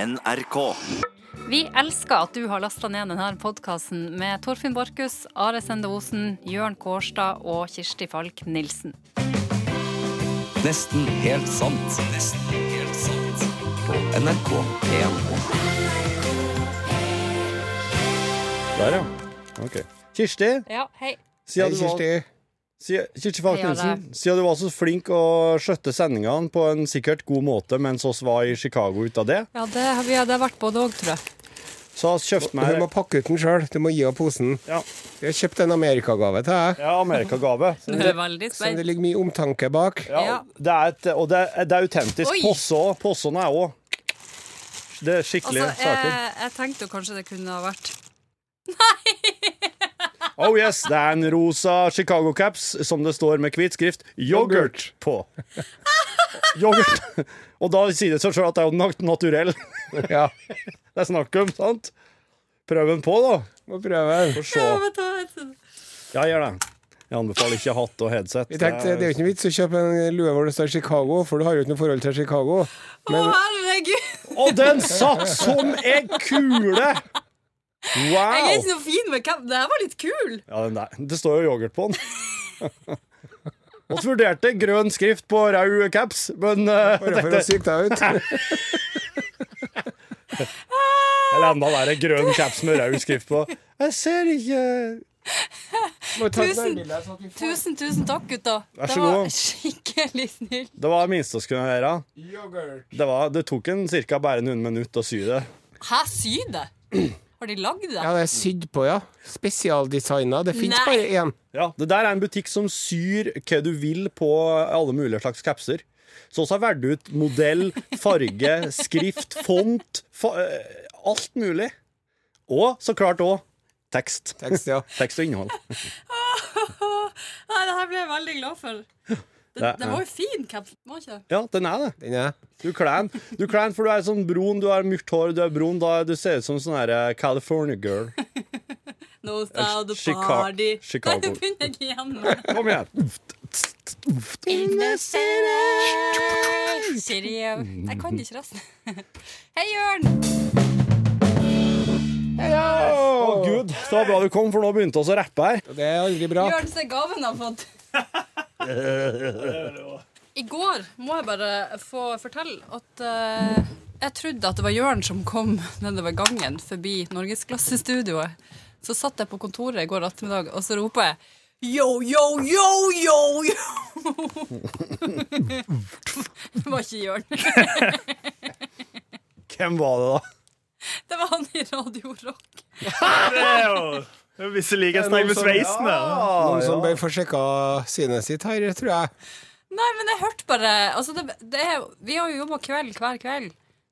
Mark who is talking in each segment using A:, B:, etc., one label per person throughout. A: NRK.
B: Vi elsker at du har lasta ned denne podkasten med Torfinn Borchhus, Are Sende Osen, Jørn Kårstad og Kirsti Falk Nilsen.
C: Nesten helt sant. Nesten helt sant. På NRK P1.
D: Der, ja. Ok. Kirsti,
B: Ja, hei.
D: siden du, var, siden, Kirsti Falk
B: Hei, Are.
D: Nilsen, siden du var så flink å skjøtte sendingene på en sikkert god måte mens oss var i Chicago ut av det,
B: Ja, det har, vi, det har vært både òg, tror jeg.
D: så har vi kjøpt
E: Du
D: meg
E: må pakke ut den sjøl. Du må gi av posen.
D: ja,
E: Jeg har kjøpt en amerikagave til deg,
D: ja, Amerikagave.
B: Du er veldig
E: som
B: spent.
E: det ligger mye omtanke bak.
D: Ja,
B: Ja.
D: det er et, og det er, det er autentisk.
B: Oi.
D: Posse òg. Possene er òg Det er skikkelige
B: Altså, jeg,
D: saker.
B: jeg tenkte jo kanskje det kunne ha vært
D: Oh yes, det er en rosa Chicago caps som det står med hvit skrift 'yoghurt' på. Yoghurt. Og da sier det seg sjøl at det er jo nat- naturell
E: Ja,
D: det er snakk om, sant? Prøv den på, da.
E: må prøve.
D: Få se. Ja, gjør det. Jeg anbefaler ikke hatt og headset.
E: Vi tenkte, Det er jo ikke noe vits å kjøpe en lue hvor det står Chicago, for du har jo ikke noe forhold til Chicago.
B: Å, herregud!
D: Og den satt som ei kule!
B: Jeg er
D: Wow!
B: ikke noe fin med hvem. Det her var litt kul.
D: Ja, den der. Det står jo yoghurt på den. Vi vurderte grønn skrift på rød caps, men eh,
E: Bare for å
D: tenkte,
E: psyke deg ut.
D: Eller enda verre, grønn caps med rød skrift på. Jeg ser ikke
E: Må ta et
B: Tusen-
E: nærbilde, sånn at vi får
B: Tusen, tusen takk, gutta.
D: Vær så
B: det var
D: god.
B: skikkelig snill.
D: Det var det minste vi kunne gjøre.
E: yoghurt.
D: Det, var, det tok en ca. bare noen minutter å sy det.
B: Hæ, sy det? Har de lagd det?
E: Ja, det er sydd på, ja. Spesialdesigna. Det fins
B: Nei.
E: bare én.
D: Ja, Det der er en butikk som syr hva du vil på alle mulige slags capser. Så vi har valgt ut modell, farge, skrift, font, fa eh, alt mulig. Og så klart òg tekst.
E: Tekst, ja.
D: Tekst og innhold.
B: Nei, det her ble jeg veldig glad for. Den,
D: Det-
B: den var jo fin, Cap. Var ikke det?
D: Ja, den er det.
E: Den er
D: Du er klein, du er klein for du er sånn brun, du har mørkt hår, du er brun, da du ser ut som sånn her eh, California girl.
B: No style the
D: Chica-
B: party.
D: Chicago.
B: Nei, det begynner jeg ikke igjen med.
D: Kom igjen.
B: In the city. City. Jeg kan ikke resten. Hei, Jørn.
D: Å gud, det var bra du kom, for nå begynte vi å rappe her.
E: Det er aldri bra.
B: Jørn, se gaven jeg har fått. I går må jeg bare få fortelle at eh, jeg trodde at det var Jørn som kom nedover gangen forbi Norgesklassestudioet. Så satt jeg på kontoret i går ettermiddag, og så roper jeg Yo, yo, yo, yo, yo! Det var ikke Jørn.
D: Hvem var det, da?
B: Det var han i Radio Rock.
F: Visselig jeg snakker med sveisen her.
E: Noen som bør få sjekka synet sitt her, tror jeg.
B: Nei, men jeg hørte bare altså det, det er, Vi har jo jobba kveld hver kveld,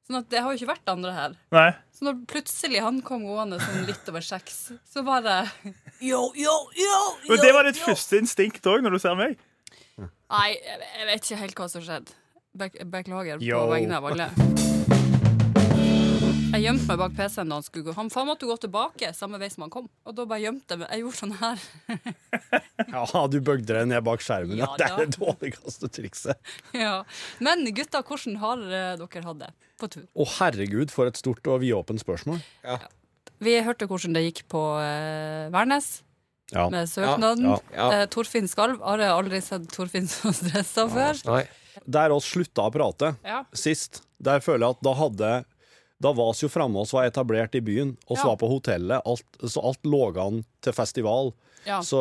B: sånn at det har jo ikke vært andre her.
F: Nei.
B: Så når plutselig han kom gående sånn litt over seks, så bare Yo, yo, yo,
F: Men det var ditt første instinkt òg, når du ser meg.
B: Nei, jeg jeg vet ikke helt hva som skjedde. Bek beklager på
F: Yo.
B: vegne av alle. Jeg gjemte meg bak PC-en da han skulle gå. Han faen måtte gå tilbake samme vei som han kom. Og da bare gjemte jeg meg. Jeg gjorde sånn her.
D: Ja, du bøgde deg ned bak skjermen. Ja,
B: Ja,
D: det er
B: da.
D: det dårligste trikset.
B: Ja. Men gutta, hvordan har eh, dere hatt det på tur?
D: Å herregud, for et stort og vidåpent spørsmål.
B: Vi hørte hvordan det gikk på eh, Værnes
D: Ja.
B: med søknaden.
D: Ja,
E: ja.
B: Eh, Torfinn skalv. Har jeg aldri sett Torfinn så stressa før.
E: Nei.
D: Der oss slutta å prate
B: Ja.
D: sist, der føler jeg at da hadde da var oss jo framme, oss var etablert i byen, oss
B: Ja.
D: var på hotellet, alt, så alt lå an til festival.
B: Ja.
D: Så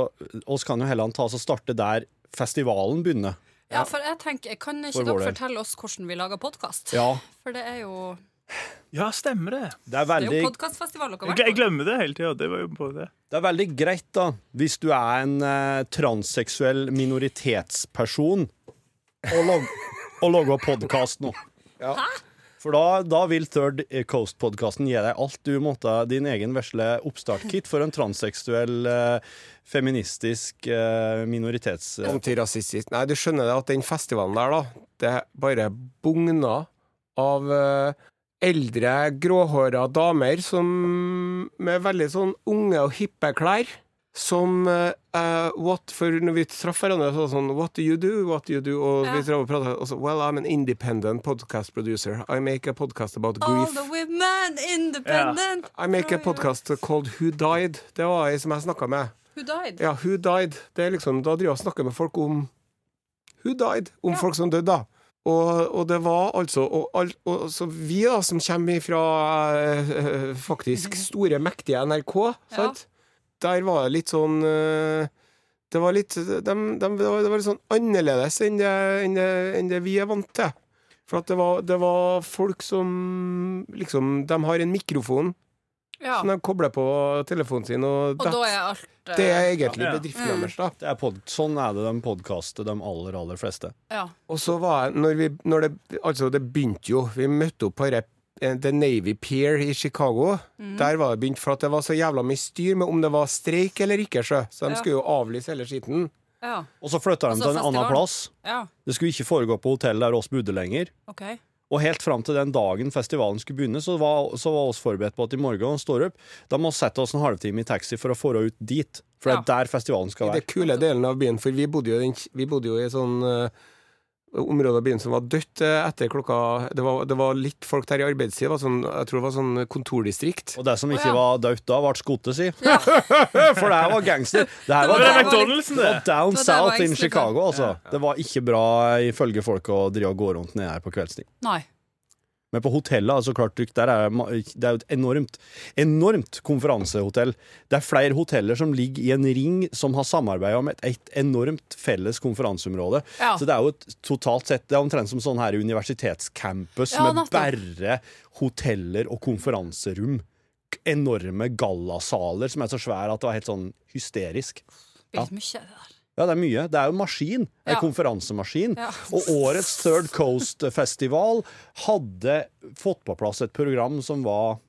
D: oss kan jo heller ta oss og starte der festivalen begynner.
B: Ja, for jeg tenker, kan ikke
D: For vår
B: dere
D: del.
B: fortelle oss hvordan vi lager podkast?
D: Ja,
B: For det er jo,
F: Ja, stemmer det.
D: det er
B: det er
D: veldig,
B: jo podkastfestival dere
F: Jeg,
B: har
F: gle- jeg
B: vært på.
F: glemmer det hele tida. Det var jo på det.
D: det er veldig greit da, hvis du er en eh, transseksuell minoritetsperson, og, log og lager podkast nå.
E: Ja.
D: For da, da vil Third Coast-podkasten gi deg alt du måtte din egen vesle oppstartkit for en transseksuell, eh, feministisk eh, minoritets... eh,
E: Antirasistisk. Nei, du skjønner det at den festivalen der, da, det bare bugna av eh, eldre, gråhåra damer som med veldig sånn unge og hippe klær. som eh, eh, what, For når vi traff hverandre, så var det sånn What do you do? What do you do? Og
B: Ja.
E: vi traff og pratet, og så Well, I'm an independent podcast producer. I make a podcast about
B: All
E: grief.
B: the women independent.
E: I make a podcast called Who Died. Det var ei som jeg snakka med.
B: Who died?
E: Ja, Who Died. Det er liksom, da driver jeg og snakker med folk om Who Died. Om folk som døde, da. Og, og det var altså og, alt- og, Så vi, da, som kommer fra faktisk store, mektige NRK, sant? Der var det litt sånn eh, Det var litt dem- dem- det, var, det var litt sånn annerledes enn det, enn det, enn det vi er vant til. For at det var, det var folk som liksom De har en mikrofon
B: Ja.
E: som de kobler på telefonen sin, og,
B: Og da
E: that's-
B: er alt eh, Mm.
E: det er egentlig
F: Ja.
E: bedriften deres, da.
D: Det er pod sånn er det de podkaster, de aller, aller fleste.
B: ja.
E: Og så var jeg når vi, når det, Altså, det begynte jo Vi møtte opp på rep, eh, The Navy Pier i Chicago.
B: Mm.
E: Der var det begynt, for at det var så jævla mye styr med om det var streik eller ikke, sjø. Så de
B: Ja.
E: skulle jo avlyse hele skitten.
B: ja.
D: Og så flytta de
B: Og så
D: til en annen
B: festival.
D: plass.
B: Ja.
D: Det skulle ikke foregå på hotellet der oss bodde lenger.
B: OK.
D: Og helt fram til den dagen festivalen skulle begynne, så var, så var oss forberedt på at i morgen står opp, da må vi sette oss en halvtime i taxi for å få ut dit. For det er der festivalen skal
E: I
D: være.
E: den kule delen av byen, for vi bodde jo, i den- vi bodde jo i et sånn eh, område av byen som var dødt eh, etter klokka det var, det var litt folk der i arbeidstid. Det var sånn, jeg tror det var sånn kontordistrikt.
D: Og det som ikke
B: Å, ja.
D: var dødt da, ble skutt, si. For det her var gangster. Det her
B: Det
F: Det
D: var,
F: var
B: var
F: McDonald'sen,
D: det
F: det.
D: var down
B: Det var der var
D: south in
B: gangster før.
D: Chicago, altså. Det var ikke bra ifølge folk å drive og gå rundt nede her på kveldstid.
B: Nei.
D: Men på hotellet, altså klart, der er ma- det er jo et enormt, enormt konferansehotell. Det er flere hoteller som ligger i en ring som har samarbeida om et, et enormt felles konferanseområde.
B: Ja.
D: Så det er jo et, totalt sett Det er omtrent som sånn her universitetscampus
B: Ja,
D: med
B: nettopp.
D: bare hoteller og konferanserom. K- Enorme gallasaler som er så svære at det var helt sånn hysterisk.
B: Det blir litt mye, det der.
D: Ja, det er mye. Det er jo en maskin. En
B: Ja.
D: konferansemaskin.
B: Ja.
D: Og årets Third Coast-festival hadde fått på plass et program som var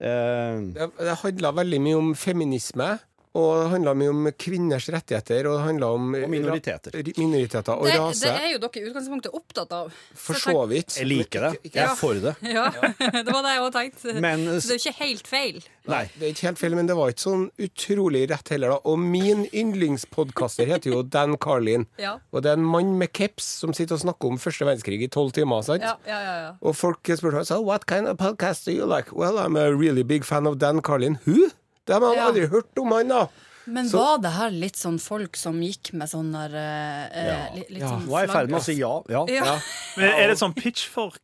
D: eh,
E: Det, det handla veldig mye om feminisme, og det handla mye om kvinners rettigheter, og det handla om
D: Og minoriteter.
E: ra- ri- minoriteter og
B: Det, det
E: rase.
B: er jo dere i utgangspunktet opptatt av.
E: For
B: så jeg
E: så vidt.
D: Jeg liker det. Jeg er for det.
B: Ja, det var det jeg òg tenkte.
D: Men
B: Så det er jo ikke helt feil.
D: Nei.
E: Det er ikke helt feil, men det var ikke sånn utrolig rett heller, da. Og min yndlingspodkaster heter jo Dan Carlin.
B: Ja.
E: Og det er en mann med caps som sitter og snakker om første verdenskrig i tolv timer. sant?
B: Ja, ja, ja, ja.
E: Og folk spurte meg so What kind of podcast do you like? Well, I'm a really big fan of Dan Carlin. Who? Det har man
B: Ja.
E: aldri hørt om han, da!
B: Men var det her litt sånn folk som gikk med sånn der eh,
D: Ja.
B: litt, litt
E: Ja.
B: sånn
D: Nå er jeg i ferd med å si ja. ja.
B: Ja.
E: Ja.
F: Men er det sånn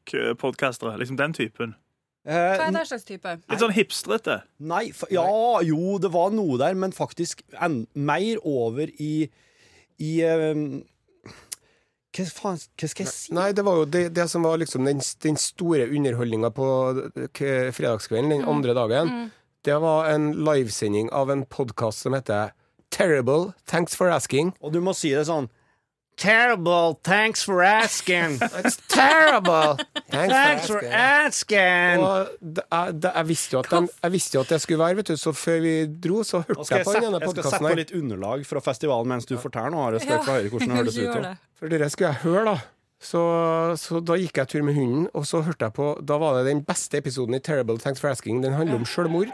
F: pitchfork-podkastere? Liksom den typen?
B: Hva
D: Eh,
B: er det slags type?
F: Litt sånn hipstrete.
D: Nei, fa- ja, jo, det var noe der, men faktisk en, mer over i I ehm, Hva faen, hva skal jeg si?
E: Nei, det var jo det, det som var liksom den, den store underholdninga på k fredagskvelden den andre dagen. Det var en livesending av en podkast som heter Terrible Thanks for Asking.
D: Og du må si det sånn Terrible, thanks for asking.
E: It's terrible! Thanks for asking.
D: asking.
E: Og det, jeg, det, jeg, visste jo at den, jeg visste jo at det skulle være, vet du, så før vi dro, så
D: Nå
E: hørte
D: skal jeg,
E: jeg på
D: sette,
E: den
D: jeg
E: ene
D: skal
E: podkasten
D: sette på
E: her.
D: litt underlag fra festivalen mens du forteller nå, Are Spøk fra Høyre, hvordan det høres ut.
B: gjør
D: da.
B: det.
E: For dere skulle jeg høre, da. Så, så da gikk jeg tur med hunden, og så hørte jeg på Da var det den beste episoden i Terrible Thanks for Asking. Den handler om sjølmord.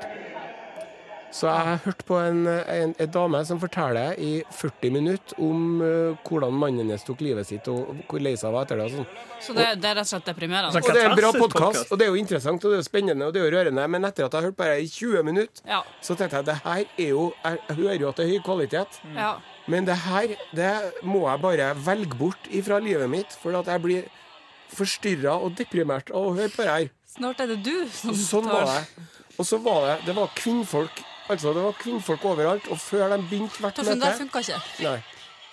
E: Så jeg hørte på en, en, en dame som forteller i 40 minutter om eh, hvordan mannen hennes tok livet sitt, og hvor lei seg han var etter det. Og sånn.
B: Så det, det er rett og slett deprimerende.
F: Så-
E: Og det er en bra
F: Fantastisk podcast.
E: podkast, og det er jo interessant, og det er jo spennende, og det er jo rørende. Men etter at jeg har hørt på det i 20 minutter,
B: Ja,
E: så tenkte jeg det her er jo Jeg hører jo at det er høy kvalitet.
B: ja.
E: Men det her, det må jeg bare velge bort ifra livet mitt, for at jeg blir forstyrra og deprimert av å høre på det her.
B: Snart er det du som
E: Og sånn var det. Og så var det Det var kvinnfolk. Altså, det var kvinnfolk overalt, og før de begynte hvert
B: Torfinn, det
E: møte
B: funka ikke.
E: Nei.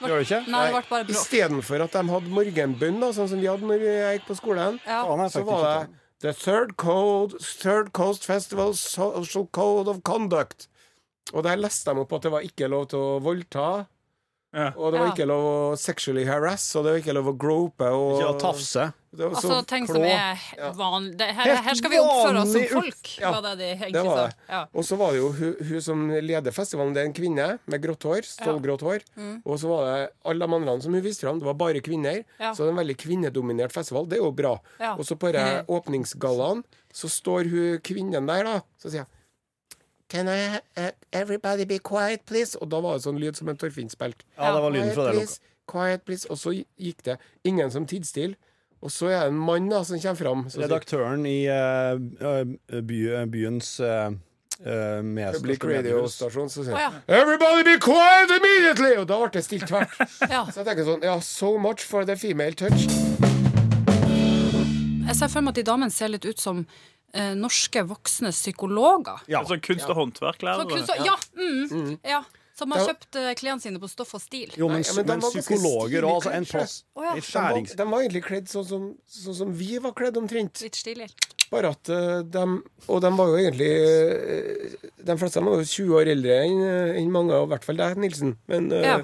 D: Gjør det ikke?
B: Nei, det ble bare bråk.
E: Istedenfor at de hadde morgenbønn, da, sånn som vi hadde når jeg gikk på skolen,
B: Ja.
D: Faen, jeg
E: så
D: fikk
E: var
D: ikke
E: det The Third, Code, Third Coast Festival Social Code of Conduct. Og der leste de opp at det var ikke lov til å voldta.
F: Ja.
E: Og det var
B: Ja.
E: ikke lov å sexually harass, og det var ikke lov å grope. Og,
D: Ikke å tafse.
E: Det var
B: Altså
E: så
B: ting
E: klå.
B: som er vanlig det, her, her skal vi oppføre oss som
D: vanlig
B: folk,
E: Ja,
B: var det de
E: det
B: egentlig
E: var
B: sa.
E: det.
B: Ja.
E: Og så var det jo hun, hun som leder festivalen, det er en kvinne med grått hår. Stålgrått hår.
B: Mm.
E: Og så var det alle de andre som hun viste fram, det var bare kvinner.
B: Ja.
E: Så det er en veldig kvinnedominert festival. Det er jo bra.
B: Ja. Mm.
E: Og så på det åpningsgallaen så står hun kvinnen der, da. Så sier jeg Can I eh, Everybody be quiet, please? Og da var det sånn lyd som en Torfinn spilte.
D: Ja, det var lyden fra det
E: Quiet, please.
D: lokalet.
E: Quiet, please. Og så gikk det. Ingen som tidde stille. Og så er det en mann da som kommer fram. Så sier,
D: Redaktøren i eh, eh, by, eh, byens uh,
E: Public radio-stasjon. Så sier
B: Å, ja.
E: han, Everybody be quiet immediately! Og da ble det stilt tvert.
B: Ja.
E: Så jeg tenker sånn Ja, so much for the female touch.
B: Jeg ser for meg at de damene ser litt ut som eh, norske voksne psykologer.
D: Ja.
F: Altså kunst- og
B: Så
F: håndverklærere.
B: kunst- ja, mm, ja. Som har
E: Da-
B: kjøpt eh, klærne sine på stoff og stil.
D: Jo, men,
E: Nei, men de
D: men
E: var ganske
D: psykologer
E: stilige,
D: òg, altså. En
E: kanskje.
D: plass.
B: Å, ja.
D: En
E: De var,
D: skjærings...
E: de var egentlig kledd sånn som, sånn som vi var kledd omtrent.
B: Litt stilig.
E: Bare at eh, de Og de var jo egentlig eh, De fleste av dem var jo 20 år eldre enn eh, enn mange, og i hvert fall deg, Nilsen. Men eh,
B: Ja.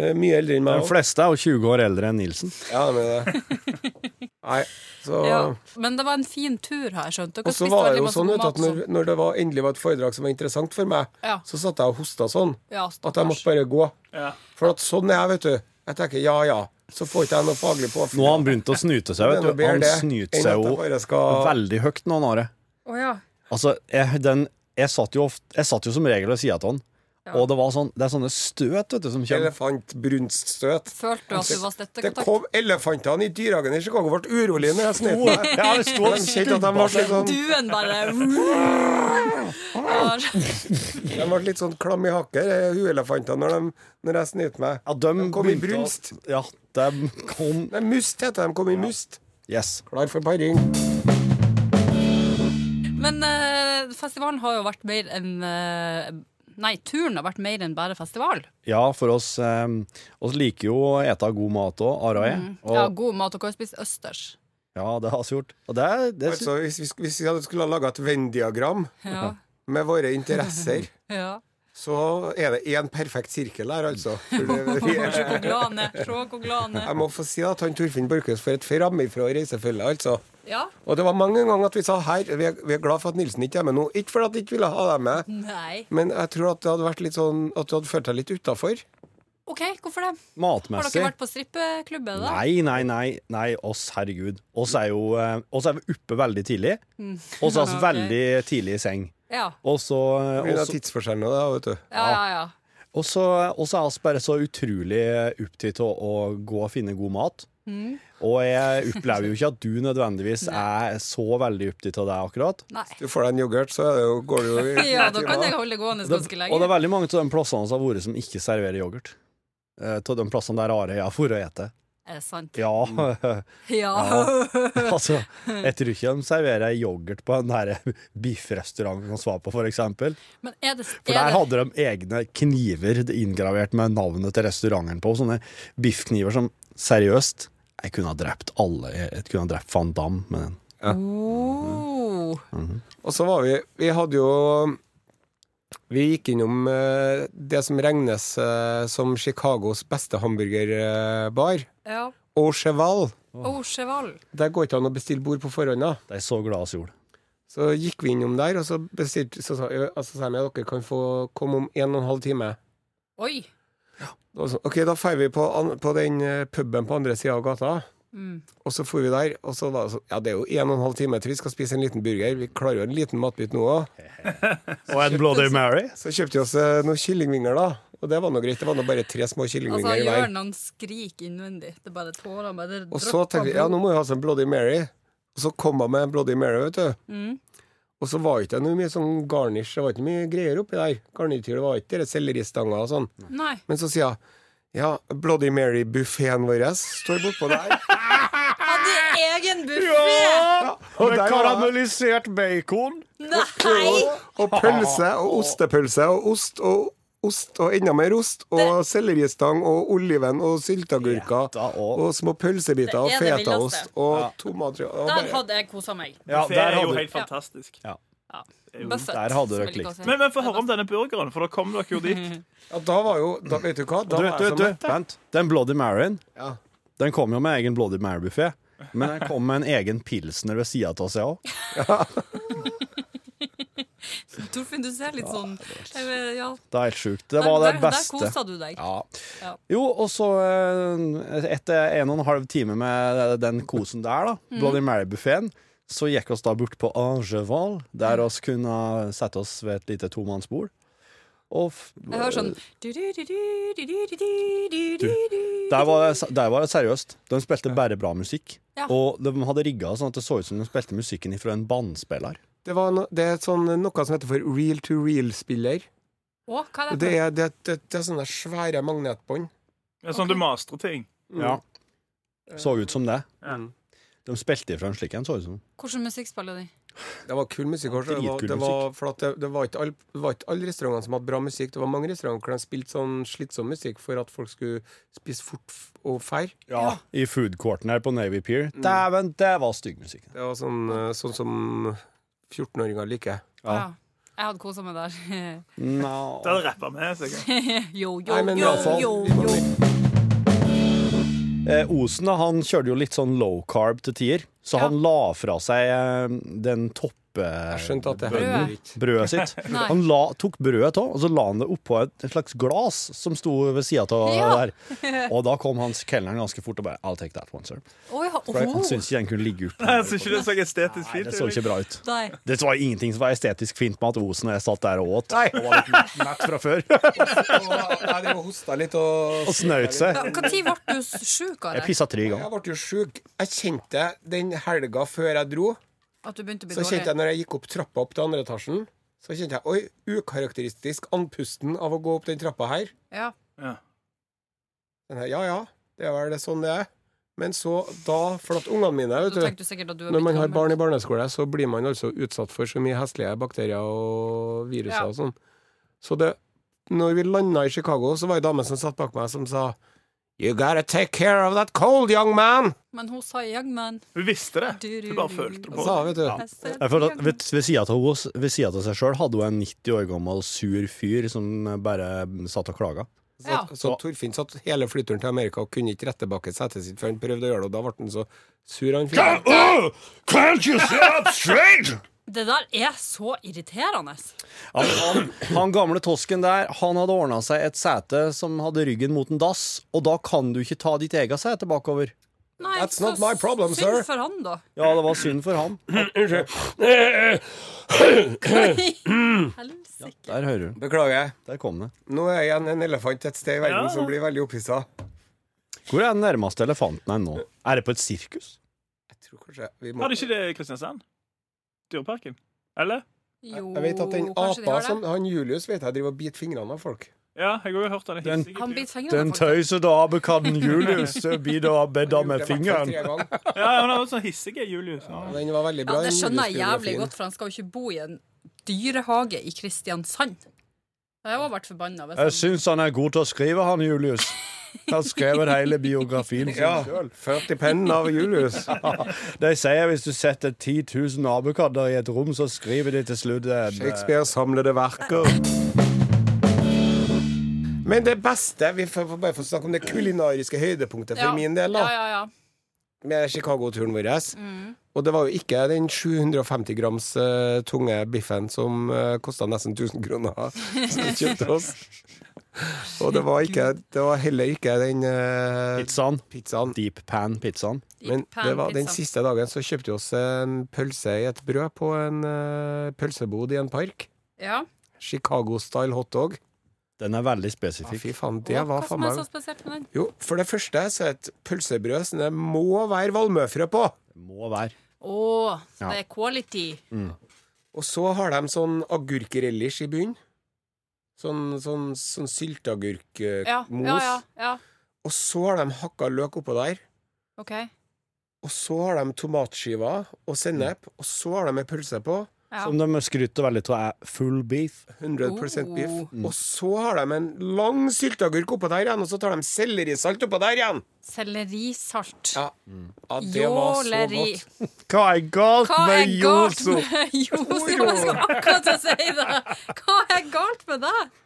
E: eh, mye eldre enn meg.
D: De
E: også.
D: fleste er jo 20 år eldre enn Nilsen.
E: Ja, de er det. Nei, så
B: Ja. Men det var en fin tur, har jeg skjønt. Dere
E: Og så
B: spiste
E: var det
B: veldig
E: jo
B: masse
E: sånn
B: god
E: vet, du,
B: mat
E: at når,
B: og sånn.
E: når det var, endelig var et foredrag som var interessant for meg,
B: Ja.
E: så satt jeg og hosta sånn
B: Ja,
E: at jeg måtte bare gå.
F: Ja.
E: For at sånn er jeg, vet du. Jeg tenker ja ja, så får ikke jeg noe faglig påfyll.
D: Nå har han begynt å snyte seg,
E: Det er
D: vet
E: noe
D: du.
E: bedre
D: Han
E: det
D: snyter
E: enn
D: seg
E: at jeg
D: jo
E: bare skal-
D: veldig høyt nå, Nare.
B: Å, ja.
D: Altså, jeg, den, jeg, satt jo ofte, jeg satt jo som regel ved sida av han, og det, var sånn, det er sånne støt vet du, som kommer.
E: Elefantbrunststøt.
B: Følte du at du var
E: Det
B: støttekontakt?
E: kom elefantene i dyrehagen i Chicago ble urolige når jeg snek meg.
D: Ja, det sto og
E: De kjente at de ble litt sånn,
B: Duen bare
E: de ble litt sånn klam i hakket, eh, huelefantene, når, de- når jeg snet meg.
D: Ja, de
E: De kom i
D: begynte å-
E: brunst.
D: Ja, de kom
E: Nei, must heter de. Kom i must.
D: Yes.
E: Klar for paring.
B: Men eh, festivalen har jo vært mer enn eh, Nei, turen har vært mer enn bare festival.
D: Ja, for oss eh, oss liker jo å ete god mat òg, Ara og jeg. Og,
B: Mm. Ja, god mat. Dere har spist østers.
D: ja, det har vi gjort. Og det, er- det
E: Altså, hvis, vi, sk- hvis vi hadde skulle ha laga et Venn-diagram
B: Ja.
E: med våre interesser,
B: ja.
E: så er det én perfekt sirkel her, altså. For det, vi
B: Se hvor
E: er,
B: glad han er. Se hvor glad han er.
E: jeg må få si at han Torfinn Borchhus får et framifrå reisefølge, altså.
B: Ja.
E: Og det var mange ganger at vi sa her, vi er, vi er glad for at Nilsen ikke er med nå. Ikke fordi at vi ikke ville ha deg med,
B: Nei.
E: men jeg tror at det hadde vært litt sånn at du hadde følt deg litt utafor.
B: OK, hvorfor det? Har
D: matmessig
B: dere vært på strippeklubbe, da?
D: Nei, nei, nei. nei, oss, herregud. Oss er jo eh, oss er vi oppe veldig tidlig. Oss er oss
B: Mm. Ok.
D: veldig tidlig i seng.
B: Ja.
D: Og så eh,
E: Pga.
D: og så-
E: tidsforskjellen og det, vet du.
B: Ja, ja, ja.
D: og så og så er oss bare så utrolig opptatt av å gå og finne god mat. Og jeg opplever jo ikke at du nødvendigvis er så veldig opptatt av det akkurat.
B: Nei.
E: Du får deg en yoghurt, så er det jo, går det jo i
B: Ja, da kan jeg holde gående
D: Det,
B: ganske
D: og det
B: lenge.
D: er veldig mange av de plassene som har vært som ikke serverer yoghurt. Eh, Av de plassene der Are jeg har vært og spist.
B: Er det sant?
D: Ja.
B: Ja.
D: altså, jeg tror ikke de serverer yoghurt på den der biffrestauranten som var på, for eksempel.
B: Men er det,
D: For
B: er
D: der
B: det
D: hadde de egne kniver inngravert med navnet til restauranten på. Sånne biffkniver som seriøst Jeg kunne ha drept alle. Jeg kunne ha drept van Damme med den.
B: oh.
E: Og så var vi Vi hadde jo Vi gikk innom eh, det som regnes eh, som Chicagos beste hamburgerbar,
B: Ja.
E: Au Cheval.
B: Oh, cheval.
E: Der går ikke an å bestille bord på forhånd, da.
D: De er så glad oss gjorde.
E: Så gikk vi innom der, og så bestilte Så sa jeg altså, sa jeg, «Ja, dere kan få komme om en og en halv time.
B: Oi.
E: Det var sånn, Ok, da drar vi på, an- på den eh, puben på andre sida av gata.
B: Mm.
E: Og så for vi der, og så var det sånn Ja, det er jo en og en halv time til vi skal spise en liten burger. Vi klarer jo en liten matbit nå òg.
D: Og en Bloody Mary.
E: Så kjøpte vi oss eh, noen kyllingvinger, da. Og det var nå greit. Det var nå bare tre små
B: Altså,
E: kyllingvinger i hver.
B: Jørn han skriker innvendig. Det er bare tårer bare det
E: Og så
B: dropper
E: tenkte vi
B: blod.
E: ja, nå må vi ha oss en Bloody Mary. Og så kom hun med en Bloody Mary, vet du.
B: Mm.
E: Og så var ikke det noe mye sånn garnish, det var ikke mye greier oppi der. Garnityr, det var ikke de selleristanger og sånn.
B: Nei.
E: Men så sier hun ja, Bloody Mary-buffeen vår står bortpå der.
B: Hadde egen buffé!
E: Ja, og der var det-
D: bacon.
B: Nei!
E: og pølse og ostepølse og ost og ost og enda mer ost og selleristang og oliven og sylteagurker
D: Feta og-
E: og små pølsebiter og
B: Det er det
E: fetaost
B: villeste.
E: og tomater og
B: Der
E: bare-
B: hadde jeg kosa meg.
D: Ja,
F: det
D: der
F: er jo
D: hadde,
F: helt fantastisk.
D: Ja.
B: Ja.
F: jo-
B: Buffet.
D: Der hadde dere
B: Veldig
D: klikt.
B: godt.
F: Men, men få høre om denne burgeren, for da kom dere jo dit.
E: Ja, da var jo da, Vet du hva? Da
D: du,
E: var
D: du,
E: jeg så
D: du,
E: mett.
D: vent. Den Bloody Maryen
E: altså, Ja.
D: Den kom jo med egen Bloody Mary-buffé. Men den kom med en egen pilsner ved sida av seg òg.
B: Torfinn, du ser litt sånn jeg vet- ja.
D: Det er helt sjukt. Det var det
B: der, Der
D: beste.
B: kosa du deg.
D: Ja.
B: Ja.
D: Jo, og så
B: Mhm.
D: eh, etter en og en halv time med den kosen der, da, Bloody Mary-buffeen, Så gikk oss da bort på Angeval, der
B: Mhm.
D: oss kunne sette oss ved et lite tomannsbord. Og f-
B: Jeg hører sånn
D: der, var, det- der var det seriøst. De spilte bare bra musikk.
B: Ja.
D: Og de hadde rigga sånn at det så ut som de spilte musikken fra en bandspiller.
E: Det, var no, det er et sånn, noe som heter for real to real-spiller.
B: Å, hva er
E: Det,
B: det?
E: er- det, det, det er sånne svære magnetbånd.
F: Det er Sånn du mastrer ting.
D: Ja. Så ut som det.
F: Ja.
D: De spilte fra en slik en, så ut som.
B: for- Hvordan musikk spiller de?
E: Det var kul musikk. Også. Det, var,
D: Dritkul
E: det, var, for at det, det, var ikke all, det var ikke alle restaurantene som hadde bra musikk. Det var mange restauranter hvor de spilte sånn slitsom musikk for at folk skulle spise fort f- og fær.
D: Ja. I foodcourten her på Navy Pier. Dæven, det var stygg musikk.
E: Det var sånn, eh, sånn som 14-åringer liker.
B: Ja.
D: Ja.
B: Jeg hadde kosa meg der.
D: No.
F: Det hadde rappa med, sikkert.
B: Yo, yo,
E: Nei, men
B: yo,
E: iallfall-
B: yo, yo.
D: Eh, Osen da, han kjørte jo litt sånn low carb til tider, så
B: Ja.
D: han la fra seg eh, den toppe...
E: Jeg skjønte at det
B: Brød.
E: henger ikke.
D: Brødet sitt.
B: Nei.
D: Han la, tok brødet av, og så la han det oppå et, et slags glass som sto ved sida av
B: Ja.
D: der. Og da kom hans kelneren ganske fort og bare I'll take that one, sir.
B: Å, ja.
D: Han
B: Åh.
D: syntes ikke den kunne ligge oppå.
F: Jeg syns ikke det så estetisk
D: Nei,
F: fint
D: det så ikke bra ut.
B: Nei.
D: Det var ingenting som var estetisk fint med at Osen og jeg satt der og åt. Og var litt mett- mett fra før.
E: Jeg drev og hosta litt og
D: Og snaut seg.
B: Ja, Når ble du sjuk av
D: Jeg
B: det?
D: pissa tre ganger.
E: Jeg ble jo sjuk. Jeg kjente det den helga før jeg dro.
B: At du begynte å bli
E: Så kjente
B: dårlig?
E: jeg når jeg gikk opp trappa opp til andre etasjen, så kjente jeg oi, ukarakteristisk andpusten av å gå opp den trappa her.
B: Ja.
F: Ja.
E: Den her, ja ja, det er vel det sånn det er. Men så da For at ungene mine,
B: Da
E: vet du
B: tenkte du sikkert at du
E: Når man har barn i barneskole, så blir man altså utsatt for så mye heslige bakterier og viruser
B: Ja.
E: og sånn. Så det Når vi landa i Chicago, så var det ei dame som satt bak meg, som sa You gotta take care of that cold, young man!
B: Men hun sa young man.
F: Hun visste det. Hun bare følte det på.
E: Sa, vet du.
B: Jeg ser
D: Jeg føler
B: young
D: at
B: man.
D: ved, ved sida av hos- ved siden av seg sjøl hadde hun en 90 år gammel sur fyr som bare satt og klaga.
B: Ja.
E: Så Torfinn satt hele flyturen til Amerika og kunne ikke rette bak et sete sitt før han prøvde å gjøre det, og da ble han så sur. han fyren.
D: Can't you sit up straight?
B: Det der er så irriterende.
D: Han, han, han gamle tosken der Han hadde ordna seg et sete som hadde ryggen mot en dass, og da kan du ikke ta ditt eget sete bakover.
B: Nei,
E: That's
B: så
E: not my problem,
B: synd
E: sir.
B: for han, da.
D: Ja, det var synd for han.
B: Helsike.
D: Der hører du.
E: Beklager.
D: Der kom det.
E: Nå er igjen en elefant et sted i verden
F: Ja.
E: som blir veldig opphissa.
D: Hvor er den nærmeste elefanten her nå? Er det på et sirkus?
E: Jeg tror kanskje vi må
F: Hadde ikke det i Kristiansand? Dyreparken? Eller?
B: Jo,
E: Jeg vet at den
B: kanskje de
E: apa
B: har det.
E: som Han Julius vet jeg driver og biter fingrene av folk.
F: Ja, jeg har jo hørt han er
D: Den-
F: hissig.
B: Han biter
D: Den
B: fingrene, faktisk.
D: tøysedaben kan Julius bidra bedda
E: Han
D: med
E: gjorde det i hvert fall
D: fingeren.
E: tre ganger.
F: Ja, han er også sånn hissig, Julius. nå.
E: Den var veldig
B: Ja,
E: bra.
B: det
E: den
B: skjønner jeg jævlig
E: Julius-biografien.
B: godt, for han skal jo ikke bo i en dyrehage i Kristiansand. Jeg hadde vært forbanna hvis
D: Jeg
B: han
D: syns han er god til å skrive, han Julius. Han skrevet hele biografien sin
E: Ja. 40 penn av Julius.
D: De sier hvis du setter 10 000 abekatter i et rom, så skriver de til slutt eh, en
E: Shakespeare samlede verker. Men det beste Vi får får bare få snakke om det kulinariske høydepunktet for
B: Ja.
E: min del, da.
B: Ja, ja, ja.
E: med Chicago-turen vår.
B: Mm.
E: Og det var jo ikke den 750 grams eh, tunge biffen som uh, kosta nesten 1000 kroner, som vi kjøpte oss. Og det var, ikke, det var heller ikke den eh,
D: Pizzaen.
E: pizzaen.
D: Deep pan-pizzaen.
E: Men det var den
B: Pan-pizza.
E: siste dagen så kjøpte vi oss en pølse i et brød på en eh, pølsebod i en park.
B: Ja.
E: Chicago-style hotdog.
D: Den er veldig
E: Ja,
D: spesifikk.
E: fy faen, det
B: Og
E: var
B: Hva
E: faen
B: som er
E: meg
B: så spesielt med den?
E: Jo, for det første så er et pølsebrød som det må være valmøfrø på.
D: Må være.
B: Å, så det er quality.
E: Og så har de sånn agurkrelish i bunnen. Sånn, sånn, sånn sylteagurkmos.
B: Ja, ja, ja. ja.
E: Og så har de hakka løk oppå der.
B: OK.
E: Og så har de tomatskiver og sennep. Og så har de ei pølse på.
B: Ja.
D: Som de skryter veldig av er full beef.
E: 100 beef.
B: Oh.
E: Og så har de en lang sylteagurk oppå der igjen, og så tar de sellerisalt oppå der igjen!
B: Sellerisalt.
E: Ja, ja det var så
B: Jåleri.
E: godt.
D: Hva er galt
B: Hva er
D: med
B: galt
D: Josef?
B: med Josef? Jeg skulle akkurat til å si det! Hva er galt med deg?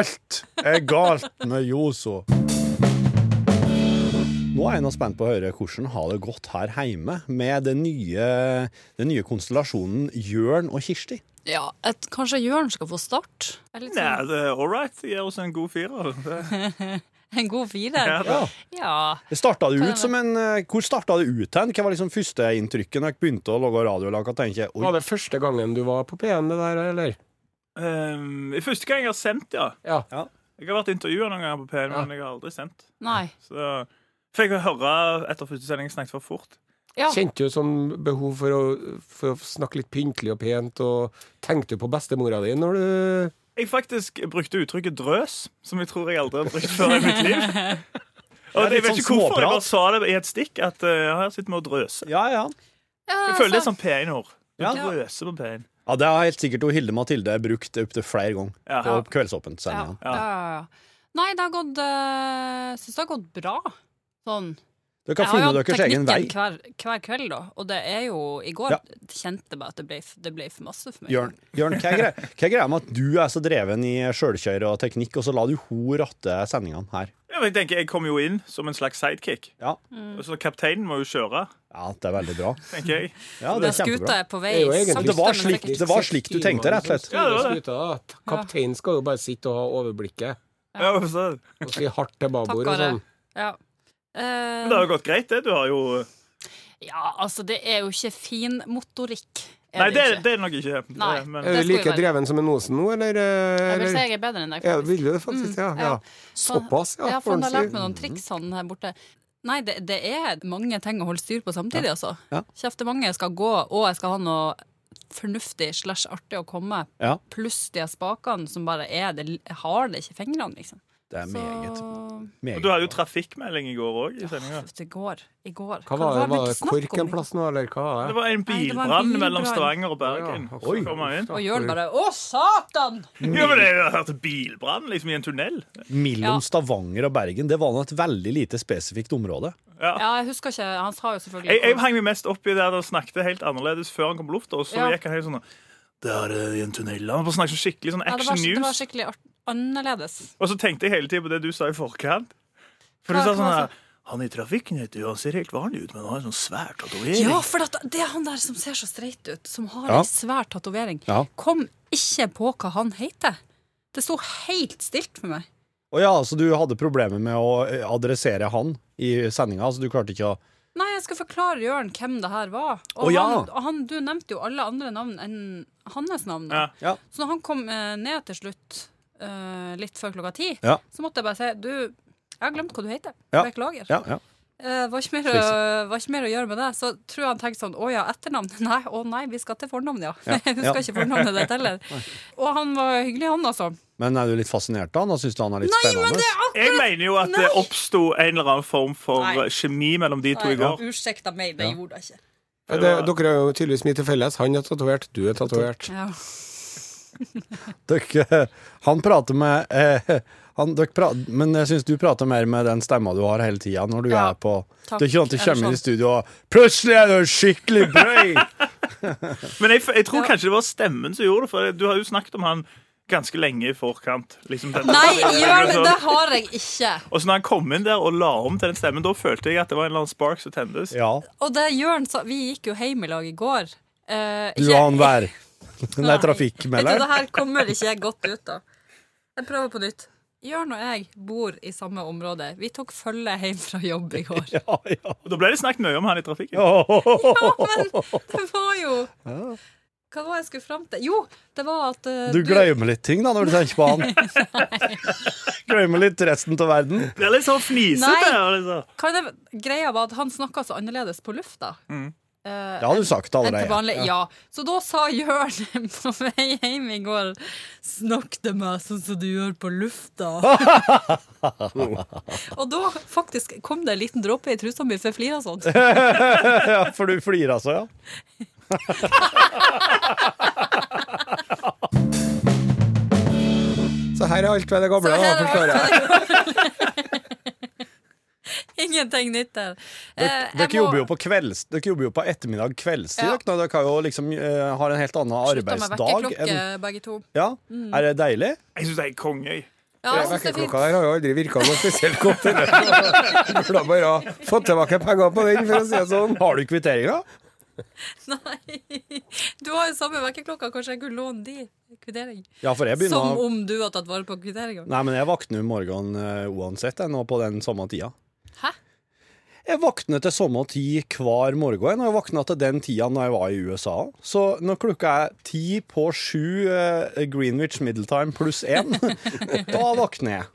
D: Alt er galt med Joso. Nå er jeg nå spent på å høre hvordan har det gått her hjemme med den nye, den nye konstellasjonen Jørn og Kirsti.
B: Ja, et, kanskje Jørn skal få start? Jeg er litt
F: Nei,
B: sånn-
F: det er all right. Gi oss en god firer. Det-
B: En god firer?
F: Ja,
D: Ja.
F: da.
B: Ja.
D: Det starta det
B: Kan
D: ut
B: jeg-
D: som en eh, Hvor starta det ut hen? Hva var liksom førsteinntrykket når dere begynte å lage radiolag? Og tenke,
E: Var
D: Oi,
E: det første gangen du var på P1, det der, eller?
F: Ehm, i første gang jeg har sendt, ja.
E: Ja.
F: Jeg har vært intervjua noen ganger på P1,
E: Ja.
F: men jeg har aldri sendt.
B: Nei.
F: Så fikk jeg høre etter første sending jeg snakket for fort.
B: Ja.
E: Kjente du sånn behov for å, for å snakke litt pyntelig og pent, og tenkte du på bestemora di når du
F: Jeg faktisk brukte uttrykket drøs, som jeg tror jeg aldri har brukt før i mitt liv. Og
D: litt
F: jeg vet
D: sånn
F: ikke hvorfor jeg
D: småprat.
F: bare sa det i et stikk. At eh, ja, her sitter vi og drøser.
D: ja, ja.
B: Ja,
F: Jeg føler det er
B: altså,
F: sånn P1-ord. Du
D: Ja.
F: drøser på P1.
D: ja, det har helt sikkert hun Hilde Mathilde brukt opptil flere ganger
F: Ja.
D: på Kveldsåpent.
B: ja,
D: sendingen.
B: ja, ja, ja. Nei, det har gått uh, Syns det har gått bra. Sånn.
D: Dere har
B: Jeg har
D: funnet
B: jo hatt
D: deres egen vei.
B: teknikken hver, hver kveld, da. Og det er jo I går
D: Ja.
B: kjente jeg bare at det ble, det ble for masse for meg.
D: Jørn, Jørn hva, er greia, hva er greia med at du er så dreven i sjølkjør og teknikk, og så lar du hun ratte sendingene her?
F: Ja, men Jeg tenker, jeg kom jo inn som en slags sidekick.
D: Ja.
B: Mm.
F: Og så kapteinen må jo kjøre,
D: ja, det er veldig bra.
F: tenker jeg.
D: Ja, det
B: Da
D: er
B: skuta
D: kjempebra.
B: er på vei.
E: Det er jo egentlig-
D: Men
B: sakte,
D: det var
B: men
D: slik,
B: sikkert.
D: det var slik du tenkte, rett og slett.
E: Ja,
F: Ja,
E: det var det. Kapteinen skal jo bare sitte og ha overblikket,
F: Ja, så-
B: Eh.
E: og si hardt til babord og
B: Takk, Are.
E: sånn.
B: Ja. Eh,
F: Men det har jo gått greit, det. Du har jo
B: ja, altså, det er jo ikke fin motorikk. Er
F: Nei, det,
B: ikke.
F: det er det nok ikke.
B: Nei.
F: Det- Men,
E: Er
B: Det
E: du
B: skal vi
E: like
B: være.
E: dreven som en Osen nå, eller? eh,
B: Jeg vil si
E: eller?
B: jeg er bedre enn deg.
E: Ja,
B: faktisk.
E: vil du det faktisk? Ja.
B: Mm,
E: ja.
B: ja.
E: Såpass, ja.
B: Ja,
E: får
B: for
E: en
B: han har
E: si.
B: lært meg noen triks han her borte. Nei, det, det er mange ting å holde styr på samtidig, altså.
D: Ja.
B: Kjefte mange jeg skal gå, og jeg skal ha noe fornuftig slash artig å komme med.
D: Ja,
B: Pluss de her spakene som bare er det, Jeg har det ikke i fingrene, liksom.
D: det er meget.
B: Så
F: og
D: meget.
F: du hadde jo trafikkmelding i går òg. Det
B: I går. I går.
E: Hva var det? Var det
B: ikke snakk
E: KORK
B: om
E: en plass nå, eller hva var det?
F: var
B: Nei, det var
F: en
B: en
F: bilbrann mellom
B: bilbrann.
F: Stavanger og Bergen.
E: Ja, ja.
F: Så kom han inn.
B: Og Jørn bare Å, satan!
F: Ja, men jeg har hørt bilbrann liksom i en tunnel.
D: Mellom
B: Ja.
D: Stavanger og Bergen, det var nå et veldig lite spesifikt område.
F: Ja.
B: Ja, jeg husker ikke. Han sa jo selvfølgelig
F: Jeg, jeg hang meg mest opp i der det snakket helt annerledes før han kom på lufta, og så
B: Ja.
F: gikk han helt sånn Der er det i en tunnel. Han bare snakket sånn skikkelig sånn
B: ja, det, var,
F: action
B: det var
F: news.
B: skikkelig art- annerledes.
F: Og så tenkte jeg hele tiden på det du sa i forkant. For du
B: Hva-
F: sa
B: hva
F: sånn
B: sa-
F: her Han i trafikken heter jo Han ser helt vanlig ut, men han har en sånn svær tatovering.
B: Ja, for at det er han der som ser så streit ut, som har
D: Ja.
B: ei svær tatovering.
D: Ja.
B: Kom ikke på hva han heter. Det sto helt stilt for meg.
D: Å ja, så du hadde problemer med å eh, adressere han i sendinga, så du klarte ikke å
B: Nei, jeg skal forklare Jørn hvem det her var. Og,
D: Å, ja.
B: han, og han, du nevnte jo alle andre navn enn hans navn. da.
F: Ja.
D: Ja.
B: Så når han kom eh, ned til slutt, eh, litt før klokka ti,
D: Ja.
B: så måtte jeg bare si Du, jeg har glemt hva du heter.
D: Ja.
B: Beklager.
D: Ja, ja.
B: Eh, var, ikke mer å, var ikke mer å gjøre med det. Så tror jeg han tenkte sånn Å ja, etternavn? Nei, å nei, vi skal til fornavn, ja. Jeg
D: ja.
B: husker ikke fornavnet ditt heller. Og han var hyggelig, han altså.
D: Men er du litt fascinert av han, og syns du han er litt spennende?
F: Jeg mener jo at det oppsto en eller annen form for
B: Nei.
F: kjemi mellom de to i går.
B: Ursekta meg, det gjorde jeg ikke.
E: Ja, det, dere har jo tydeligvis mye til felles. Han er tatovert, du er tatovert.
B: Ja.
D: Dere, han prater med eh, han, dere pra- Men jeg syns du prater mer med den stemma du har hele tida når du
B: Ja,
D: er på
B: takk.
D: Det er ikke sånn at du
B: Er det
D: kommer inn i
B: sånn?
D: studio og Plutselig er du skikkelig brøy!
F: Men jeg, jeg tror
B: Ja.
F: kanskje det var stemmen som gjorde det, for du har jo snakket om han ganske lenge i forkant. Liksom den-
B: Nei, Jørn, det har jeg ikke.
F: Og så når han kom inn der og la om til den stemmen, da følte jeg at det var en eller annen spark som tennes.
D: ja,
B: Og det Jørn sa Vi gikk jo hjem i lag i går. Eh,
D: du
B: ikke-
D: og han vær. Nei,
B: Vet du,
D: trafikkmelder.
B: det her kommer ikke jeg godt ut av. Jeg prøver på nytt. Jørn og jeg bor i samme område. Vi tok følge hjem fra jobb i går.
D: Ja, ja.
F: Og da ble det snakket mye om han i trafikken.
B: Ja, men det var jo Hva var jeg skulle fram til? Jo, det var at eh,
D: Du glemmer litt ting da når du tenker på han. Glemmer litt resten av verden.
F: Det er litt sånn fnisete.
B: Nei.
F: og litt sånn-
B: Hva er det, greia var at han snakka så annerledes på lufta. eh,
D: Det har du sagt
B: enn til
D: allerede.
B: vanlig. Ja. Så da sa Jørn på vei hjem i går Snakk til meg sånn som du gjør på lufta. og da faktisk kom det en liten dråpe i trusa mi, for jeg flira sånn.
D: Ja, for du flirer altså, ja.
E: Så her er alt ved det gamle.
B: Så
E: Da,
B: her er
E: forstår jeg.
B: Ingenting nytt der. Eh,
D: Dere
B: jeg må-
D: jobber jo på kvelds Dere jobber jo på ettermiddag kveldstid.
B: Ja.
D: dere, når Dere har jo liksom eh, har en helt annen
B: Slutta med
D: arbeidsdag.
B: vekkerklokke, Mm.
D: enn-
B: begge to.
D: ja. Er det deilig?
F: Jeg syns det er konge. jeg.
B: Ja, jeg synes det er fint.
E: Vekkerklokka her har jo aldri virka noe spesielt godt. eller? Burde bare ha fått tilbake penger på den, for å si det sånn.
D: Har du kvitteringa?
B: Nei. Du har jo samme vekkerklokka, kanskje jeg kunne låne de kvittering.
D: Ja, for jeg begynner
B: Som
D: å
B: om du har tatt vare på kvitteringa.
D: Nei, men jeg våkner om morgenen eh, uansett, jeg, nå på den samme tida.
B: Hæ?
D: Jeg våkner til samme tid hver morgen, og jeg våkna til den tida når jeg var i USA. Så når klokka er ti på sju eh, Greenwich Middle Time pluss én, da våkner jeg.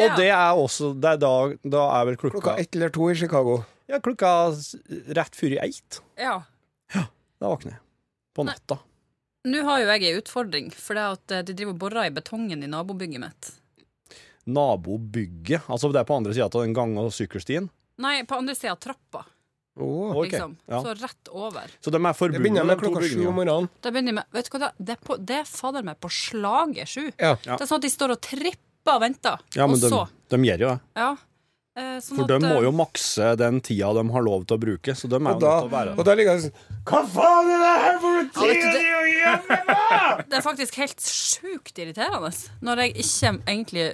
D: Og
B: Ja.
D: det er også det er da, da er vel klokka
E: Klokka ett eller to i Chicago.
D: Ja, klokka s- rett før i eitt.
B: Ja.
D: Da våkner jeg. På natta.
B: Nå har jo jeg ei utfordring, for det er at eh, de driver og borer i betongen i nabobygget mitt.
D: Nabobygget. Altså det er på andre sida av den gang- og sykkelstien.
B: Nei, på andre sida av trappa,
E: Åh.
D: Ok,
B: liksom.
D: ja.
B: Så rett over.
D: Så de er
E: Det
D: forbundet,
E: begynner
D: de
E: med
D: to
E: klokka sju om
D: bygningene.
E: morgenen.
B: Da begynner jeg med Vet du hva, det er- det er, på, det er fader meg på slaget sju.
E: Ja.
D: Ja.
B: Det er sånn at de står og tripper og venter,
D: Ja, men
B: og
D: de,
B: så
D: de gjør jo det.
B: Ja. Eh, sånn
D: For
B: at,
D: de må
B: eh,
D: jo makse den tida de har lov til å bruke, så de er jo
E: Og da,
D: nødt til å være
E: og da ligger jeg sånn Hva faen er det her for en
B: vet
E: tid
B: du, det-
E: de gjør hjemme?! med?!
B: Det er faktisk helt sjukt irriterende når jeg ikke egentlig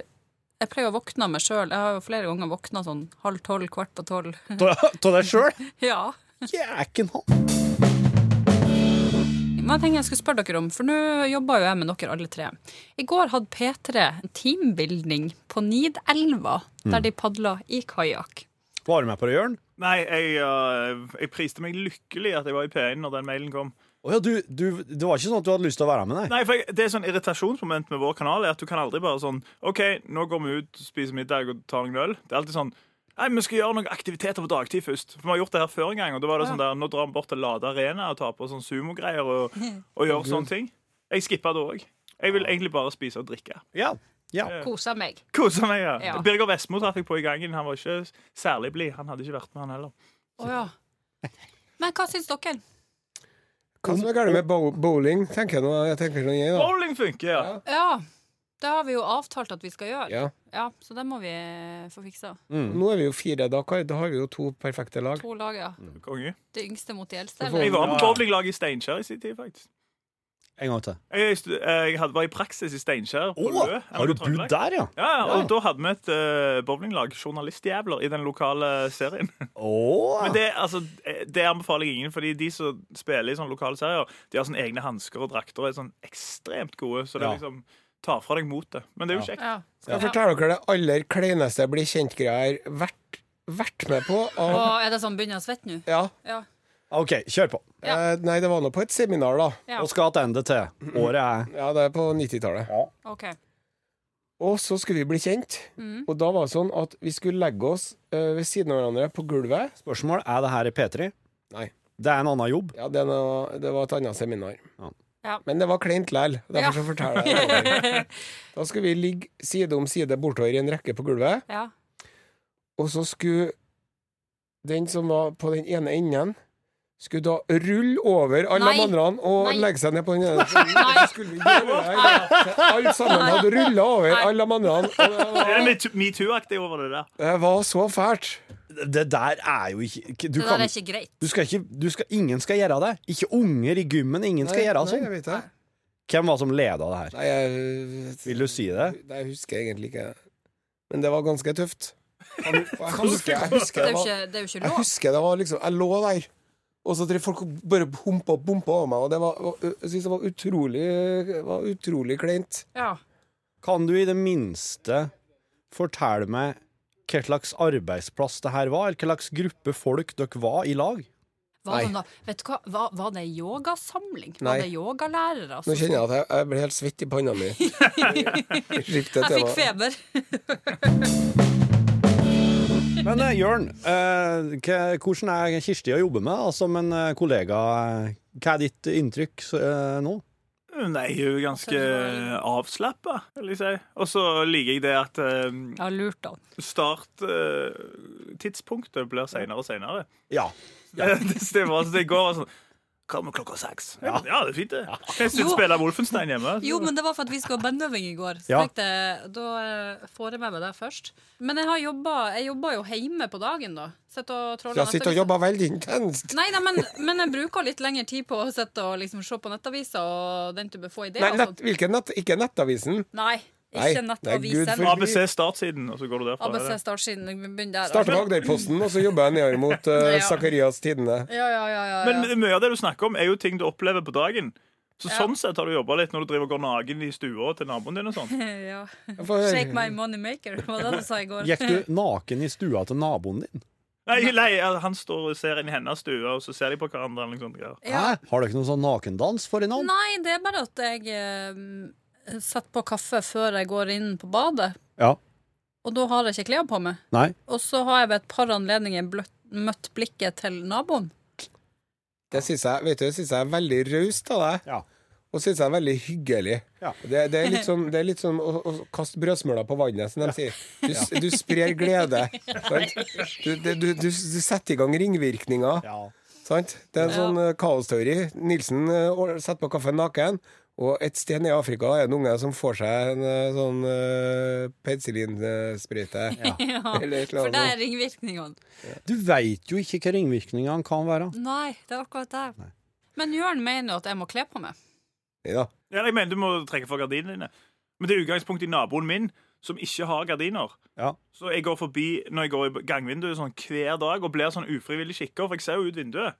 B: Jeg pleier å våkne av meg sjøl. Jeg har jo flere ganger våkna sånn halv tolv, kvart på tolv.
D: Av deg sjøl?
B: Ja.
D: Jæken han.
B: Men jeg tenker jeg skulle spørre dere om, for nå jobber jo jeg med dere alle tre. I går hadde P3 teambuilding på Nidelva,
D: Mm.
B: der de padla i kajakk.
D: Var du med på det, Jørn?
F: Nei, jeg, øh, jeg priste meg lykkelig at jeg var i P1 når den mailen kom.
D: Å ja, du, du, det var ikke sånn at du hadde lyst til å være med, nei?
F: Nei, for jeg, Det er sånn irritasjonsmoment med vår kanal. er at Du kan aldri bare sånn OK, nå går vi ut, spiser middag og tar noen øl. Det er alltid sånn Nei, vi skal gjøre noen aktiviteter på dagtid først. For vi har gjort det her før en gang. Og da var det sånn der, Nå drar vi bort til Lade Arena og tar på sånn sumogreier og, og gjør sånne ting. Jeg skippa det òg. Jeg vil egentlig bare spise og drikke.
D: Ja. ja.
B: Kosa meg.
F: Kosa meg, ja.
B: Ja.
F: Birger Vestmo traff jeg på i gangen. Han var ikke særlig blid. Han hadde ikke vært med, han heller.
B: Å ja. Men hva syns dere?
E: Hva som er galt med bow- bowling, tenker jeg nå. Jeg tenker sånn, jeg, da.
F: Bowling funker, ja.
B: Ja, det har vi jo avtalt at vi skal gjøre.
E: Ja.
B: Ja, Så det må vi eh, få fiksa.
E: Nå er vi jo fire, da, Kari. Da har vi jo to perfekte lag.
B: To lag, ja.
F: Konge.
B: Det yngste mot de eldste.
E: Mm. får-
F: Jeg
B: Eller?
F: var på bowlinglag i Steinkjer i sin tid, faktisk.
D: En gang til.
F: Jeg, stu- eh, jeg hadde, var i praksis i Steinkjer. på
D: Å,
F: Lø,
D: har du
F: på Trøndelag.
D: bodd der, ja?
F: Ja, ja, og da hadde vi et eh, bowlinglag, journalistjævler, i den lokale serien.
D: Å.
F: Men det, altså, det anbefaler jeg ingen, fordi de som spiller i sånne lokale serier, de har sånne egne hansker og drakter og er sånn ekstremt gode, så det
D: Ja.
F: liksom tar fra deg motet. Men det er jo kjekt.
B: Ja.
E: Jeg forteller dere det aller kleineste bli kjent-greier vært, vært med på.
B: Og
E: Av,
B: er det sånn begynner å svette nå?
E: ja.
B: Ja.
D: OK, kjør på.
B: Ja.
E: Eh, Nei, det var nå på et seminar, da.
B: Ja.
D: Og skal tilbake til. Året er
E: Ja, det er på 90-tallet.
B: OK.
E: Og så skulle vi bli kjent. Og da var det sånn at vi skulle legge oss eh, ved siden av hverandre på gulvet.
D: Spørsmål er det her i P3?
E: Nei.
D: Det er en annen jobb.
E: Ja, det, er noe- det var et annet seminar.
D: Ja.
B: Ja.
E: Men det var kleint lell.
B: Ja.
E: Derfor så forteller jeg det. Da skulle vi ligge side om side bortover i en rekke på gulvet.
B: Ja.
E: Og så skulle den som var på den ene enden, skulle da rulle over alle
B: Nei.
E: de andre og
B: Nei.
E: legge seg ned på den ene. siden.
B: Nei.
E: Så skulle vi gjøre det her. Så Alle sammen hadde rulla over
B: Nei.
E: alle de andre. Og det
F: Det
E: var-
F: er litt metoo-aktig over det der.
E: det var så fælt.
D: Det der er jo ikke Du,
B: Det
D: kan,
B: der er ikke greit.
D: du skal ikke du skal, Ingen skal gjøre det. Ikke unger i gymmen. Ingen skal gjøre
E: Nei,
D: sånn.
E: jeg vet det.
D: Hvem var som leda det her?
E: Nei, jeg,
D: Vil du si det?
E: Nei, jeg husker egentlig ikke. Men det var ganske tøft. Jeg husker, jeg husker,
B: Det
E: det
B: er jo
E: var,
B: ikke, det er jo ikke
E: jeg
B: lov.
E: husker det var liksom Jeg lå der. Og så drev folk og bare humpa og bompa over meg, og det var, var- jeg synes det var utrolig, det var utrolig kleint.
B: Ja.
D: Kan du i det minste fortelle meg hva slags arbeidsplass det her var, eller hva slags gruppe folk dere var i lag?
B: Var det,
E: Nei.
B: da, vet du hva, var, var det yogasamling? Var
E: Nei.
B: det altså? yogalærere?
E: Nå
B: som-
E: kjenner jeg at jeg, jeg blir helt svett i panna mi.
B: jeg fikk feber.
D: Men eh, Jørn, eh, hva- hvordan er Kirsti å jobbe med da, som en eh, kollega? Hva er ditt inntrykk eh, nå?
F: Nei, jeg er jo ganske avslappa, vil jeg si. Og så liker jeg det at eh,
B: Jeg har lurt han.
F: starttidspunktet blir seinere og seinere.
D: Ja.
F: det stemmer. Altså, det går sånn Kommer klokka seks. Ja. det er fint, det. Jeg
B: Jo.
F: synes spiller Wolfenstein hjemme. altså.
B: Jo, men det var for at vi skulle ha bandøving i går. Så
D: Ja.
B: tenkte jeg, Da eh, får jeg med meg det først. Men jeg har jobba Jeg jobber jo hjemme på dagen, da. Sitter og troller
E: Jeg sitter og
B: nettaviser.
E: jobber veldig intenst.
B: Nei, nei men, men jeg bruker litt lengre tid på å sitte og liksom se på nettaviser og den type få ideer.
E: Nei,
B: og
E: nett,
B: sånt.
E: hvilken nett? Ikke Nettavisen.
B: Nei,
E: Nei,
B: Ikke
E: det er
B: nettavisen.
E: Gud for-
F: ABC startsiden, og så går du derfra.
B: ABC
F: eller?
B: startsiden. Vi begynner der. altså.
E: Starter med Agderposten, og så jobber jeg nedover mot
B: Ja.
E: uh, Sakarias Tidende.
B: Ja, ja, ja, ja, ja.
F: Men mye av det du snakker om, er jo ting du opplever på dagen. Så
B: Ja.
F: Sånn sett har du jobba litt når du driver og går naken i stua til naboen din. og sånn
B: ja.
E: Jeg får-
B: Shake my money maker, var det du sa i går.
D: Gikk du naken i stua til naboen din?
F: Nei, nei, Han står og ser inn i hennes stue, og så ser de på hverandre. eller noe sånt greier.
B: Ja.
D: Hæ? Har dere ikke noen sånn nakendans for innom?
B: Nei, det er bare at jeg eh, setter på kaffe før jeg går inn på badet.
D: Ja.
B: Og da har jeg ikke klær på meg.
D: Nei.
B: Og så har jeg ved et par anledninger bløtt, møtt blikket til naboen.
E: Det syns jeg, vet du, det synes jeg er veldig raust av deg.
D: Ja.
E: Og syns jeg er veldig hyggelig.
D: Ja.
E: Det, det er litt som, det er litt som å, å kaste brødsmuler på vannet, som de sier. Du, s- du sprer glede. Sant? Du, det- du, du, du setter i gang ringvirkninger.
D: Ja.
E: Sant? Det er en
B: Ja.
E: sånn eh, kaosteori. Nilsen eh, or- setter på kaffen naken, og et sted nede i Afrika er det en unge som får seg en eh, sånn uh, penicillinsprøyte.
B: Ja.
E: Eller et eller
B: For det
E: annet.
B: er ringvirkningene.
D: Du veit jo ikke hva ringvirkningene kan være.
B: Nei, det er akkurat det. Men Jørn mener jo at jeg må kle på meg.
E: Ja.
F: Ja, jeg mener du må trekke for gardinene dine. Men det er utgangspunkt i naboen min, som ikke har gardiner.
D: Ja.
F: Så jeg går forbi når jeg går i gangvinduet sånn hver dag og blir sånn ufrivillig kikker, for jeg ser jo ut vinduet.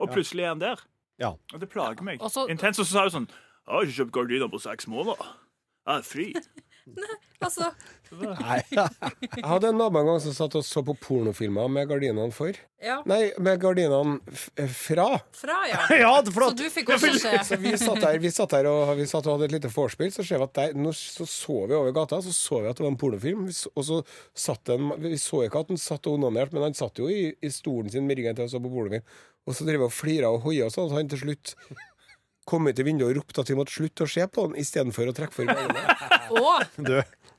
F: Og plutselig er han der.
D: Ja.
F: Og det plager meg.
B: og så-
F: Intenst. Og så sa hun sånn Jeg har ikke kjøpt gardiner på seks måneder. Jeg er fri.
B: Altså,
D: Nei.
E: Jeg hadde en nabo en gang som satt og så på pornofilmer med gardinene for.
B: ja.
E: Nei, med gardinene f eh, fra.
B: Fra, ja.
D: ja,
B: Så
D: flott!
B: du fikk også se.
E: Så vi satt der, vi satt der og, vi satt og hadde et lite vorspiel, så ser vi at der, nå så, så vi over gata, så så vi at det var en pornofilm. Vi så, og så satt den, vi så ikke at han satt og onanerte, men han satt jo i, i stolen sin med ryggen til og så på pornofilm. Og så drev vi og flira og hoia og sånn, så han til slutt kom ut i vinduet og ropte at vi måtte slutte å se på den, istedenfor å trekke for øynene.
B: Å!
D: Du,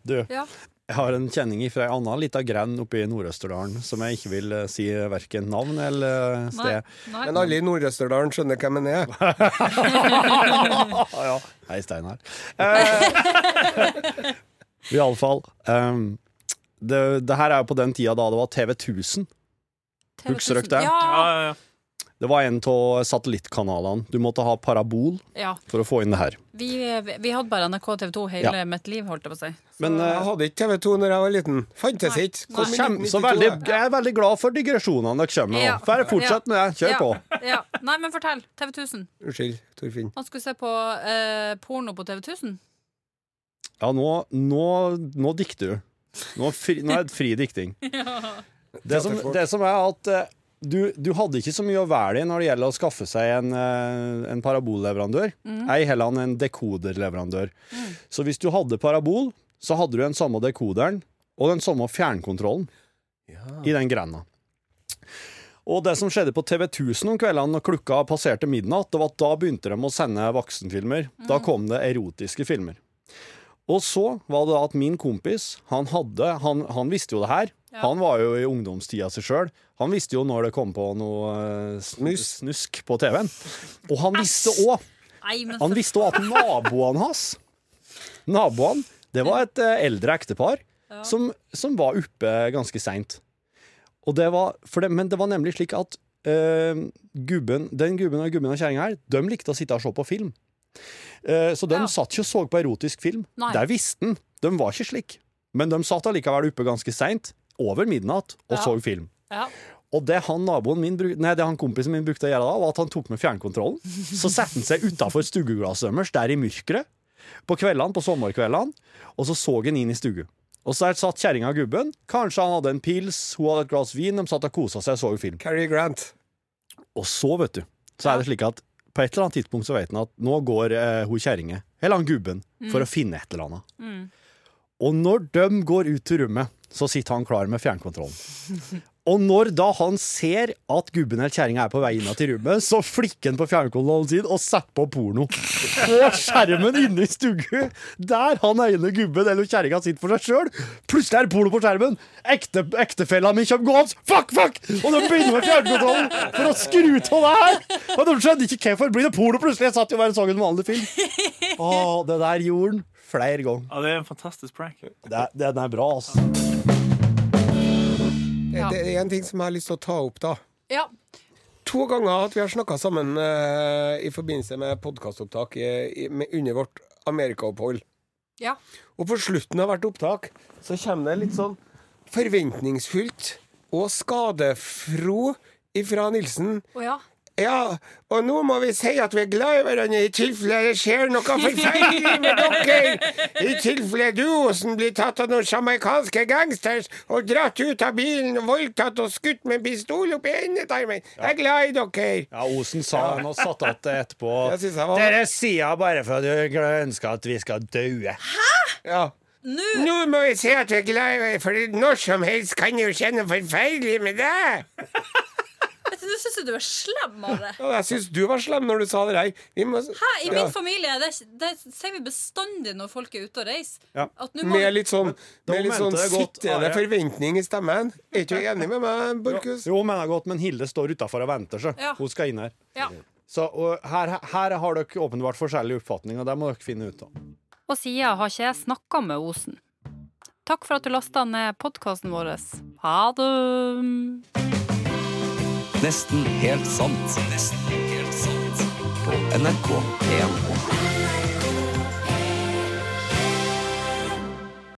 D: du.
B: Ja.
D: Jeg har en kjenning fra ei anna lita grend oppe i Nord-Østerdalen som jeg ikke vil eh, si verken navn eller eh,
B: Nei.
D: sted.
B: Nei.
E: Men alle i Nord-Østerdalen skjønner hvem han er.
D: Hei, Steinar. Eh, Iallfall. Um, det, det her er jo på den tida da det var TV 1000.
B: TV 1000.
D: Husker dere det?
F: Ja,
B: Ja.
F: ja, ja.
D: Det var en av satellittkanalene. Du måtte ha parabol
B: ja.
D: for å få inn det her.
B: Vi, vi hadde bare NRK og TV 2 hele mitt liv, holdt jeg på å si.
D: Men eh,
E: Jeg hadde ikke TV 2 når jeg var liten. Fantes
B: Nei.
E: ikke. Kom i
D: kjem, så
E: 1992,
D: veldig,
E: jeg.
D: jeg er veldig glad for digresjonene dere kommer med
B: Ja.
D: nå. Bare fortsett med det. Kjør
B: ja.
D: på.
B: Ja. Nei, men fortell. TV 1000.
E: Unnskyld, Torfinn.
B: Man skulle se på eh, porno på TV 1000.
D: Ja, nå, nå, nå dikter du. Nå, er fri, nå er det fri dikting. Det, som, det som er at eh, du, du hadde ikke så mye å velge i når det gjelder å skaffe seg en, eh, en parabolleverandør. Ei heller enn en dekoderleverandør. Så hvis du hadde parabol, så hadde du den samme dekoderen og den samme fjernkontrollen i den grenda. Og det som skjedde på TV 1000 om kveldene når klokka passerte midnatt, det var at da begynte de å sende voksenfilmer. Da kom det erotiske filmer. Og så var det da at min kompis, han hadde Han, han visste jo det her. Han var jo i ungdomstida si sjøl. Han visste jo når det kom på noe eh, snu-
E: Snus.
D: snusk på TV-en. Og han visste òg
B: Nei, men
D: Han visste òg at naboene hans Naboene, det var et eh, eldre ektepar som, som var oppe ganske seint. Og det var, for det, men det var nemlig slik at eh, gubben, den gubben og gubben og kjerringa her, de likte å sitte og se på film. Eh, så de
B: Ja.
D: satt ikke og så på erotisk film.
B: Nei.
D: Der visste han. De var ikke slik. Men de satt allikevel oppe ganske seint, over midnatt, og
B: Ja.
D: så film.
B: Ja.
D: Og det han, naboen min, bruk- nei, det han kompisen min brukte å gjøre da, var at han tok med fjernkontrollen. Så satte han seg utafor stueglasset deres, der i mørket, på kveldene, på sommerkveldene, og så så han inn i stugu. Og så der satt kjerringa og gubben. Kanskje han hadde en pils, hun hadde et glass vin, de satt og kosa seg og så film.
E: Cary Grant.
D: Og så, vet du, så er det slik at på et eller annet tidspunkt så vet han at nå går eh, hun kjerringa, eller han gubben, for å finne et eller annet. Og når de går ut til rommet, så sitter han klar med fjernkontrollen. Og når da han ser at gubben eller kjerringa er på vei inn til rommet, så flikker han på fjernkontrollen sin og setter på porno. På skjermen inne i stugget, der han ene gubben eller kjerringa sitter for seg sjøl. Plutselig er det porno på skjermen. Ekte, ektefella mi kommer gående. Fuck, fuck! Og de begynner med fjernkontrollen for å skru av det her. Og de skjønner ikke hvorfor blir det porno plutselig. Jeg satt jo bare og så en sånn vanlig film. Å, det der gjorde han flere ganger.
F: Ja, det er en fantastisk prank.
D: Det, den er bra, altså.
E: Det, det er en ting som jeg har lyst til å ta opp, da.
B: ja.
E: To ganger at vi har snakka sammen eh, i forbindelse med podkastopptak i- i- med- under vårt Amerikaopphold.
B: Ja.
E: Og på slutten av hvert opptak så kommer det litt sånn forventningsfullt og skadefro ifra Nilsen.
B: Å ja.
E: Ja, og nå må vi si at vi er glad i hverandre i tilfelle det skjer noe forferdelig med dere! I tilfelle du, Osen, blir tatt av noen jamaicanske gangsters og dratt ut av bilen og voldtatt og skutt med en pistol opp i endetarmen! Jeg er glad i dere!
D: Ja, Osen sa han og satte att det etterpå.
E: Jeg synes jeg var-
D: Dere sier bare for at du ønsker at vi skal daue.
E: Ja.
B: Nå
E: Nå må vi si at vi er glad i hverandre, for når som helst kan jo skje noe forferdelig med deg!
B: vet du, nå syns jeg du er slem, Are.
E: Ja, jeg syns du var slem når du sa det her. Vi må-
B: Hæ, I min
E: Ja.
B: familie det, det sier vi bestandig når folk er ute og reiser.
D: Ja.
B: At nå må
E: Med litt sånn,
D: da
E: med litt
D: mente
E: sånn
D: det godt,
E: sittende
D: Are.
E: forventning i stemmen. Er ikke du enig med meg, Borchhus?
D: Jo, mener jeg godt, men Hilde står utafor og venter, så
B: Ja.
D: hun skal inn her.
B: ja.
D: Så og her, her har dere åpenbart forskjellige oppfatninger, det må dere finne ut av.
A: Og siden har ikke jeg snakka med Osen. Takk for at du lasta ned podkasten vår. Ha det!
C: Nesten helt sant. Nesten helt sant. På NRK P1.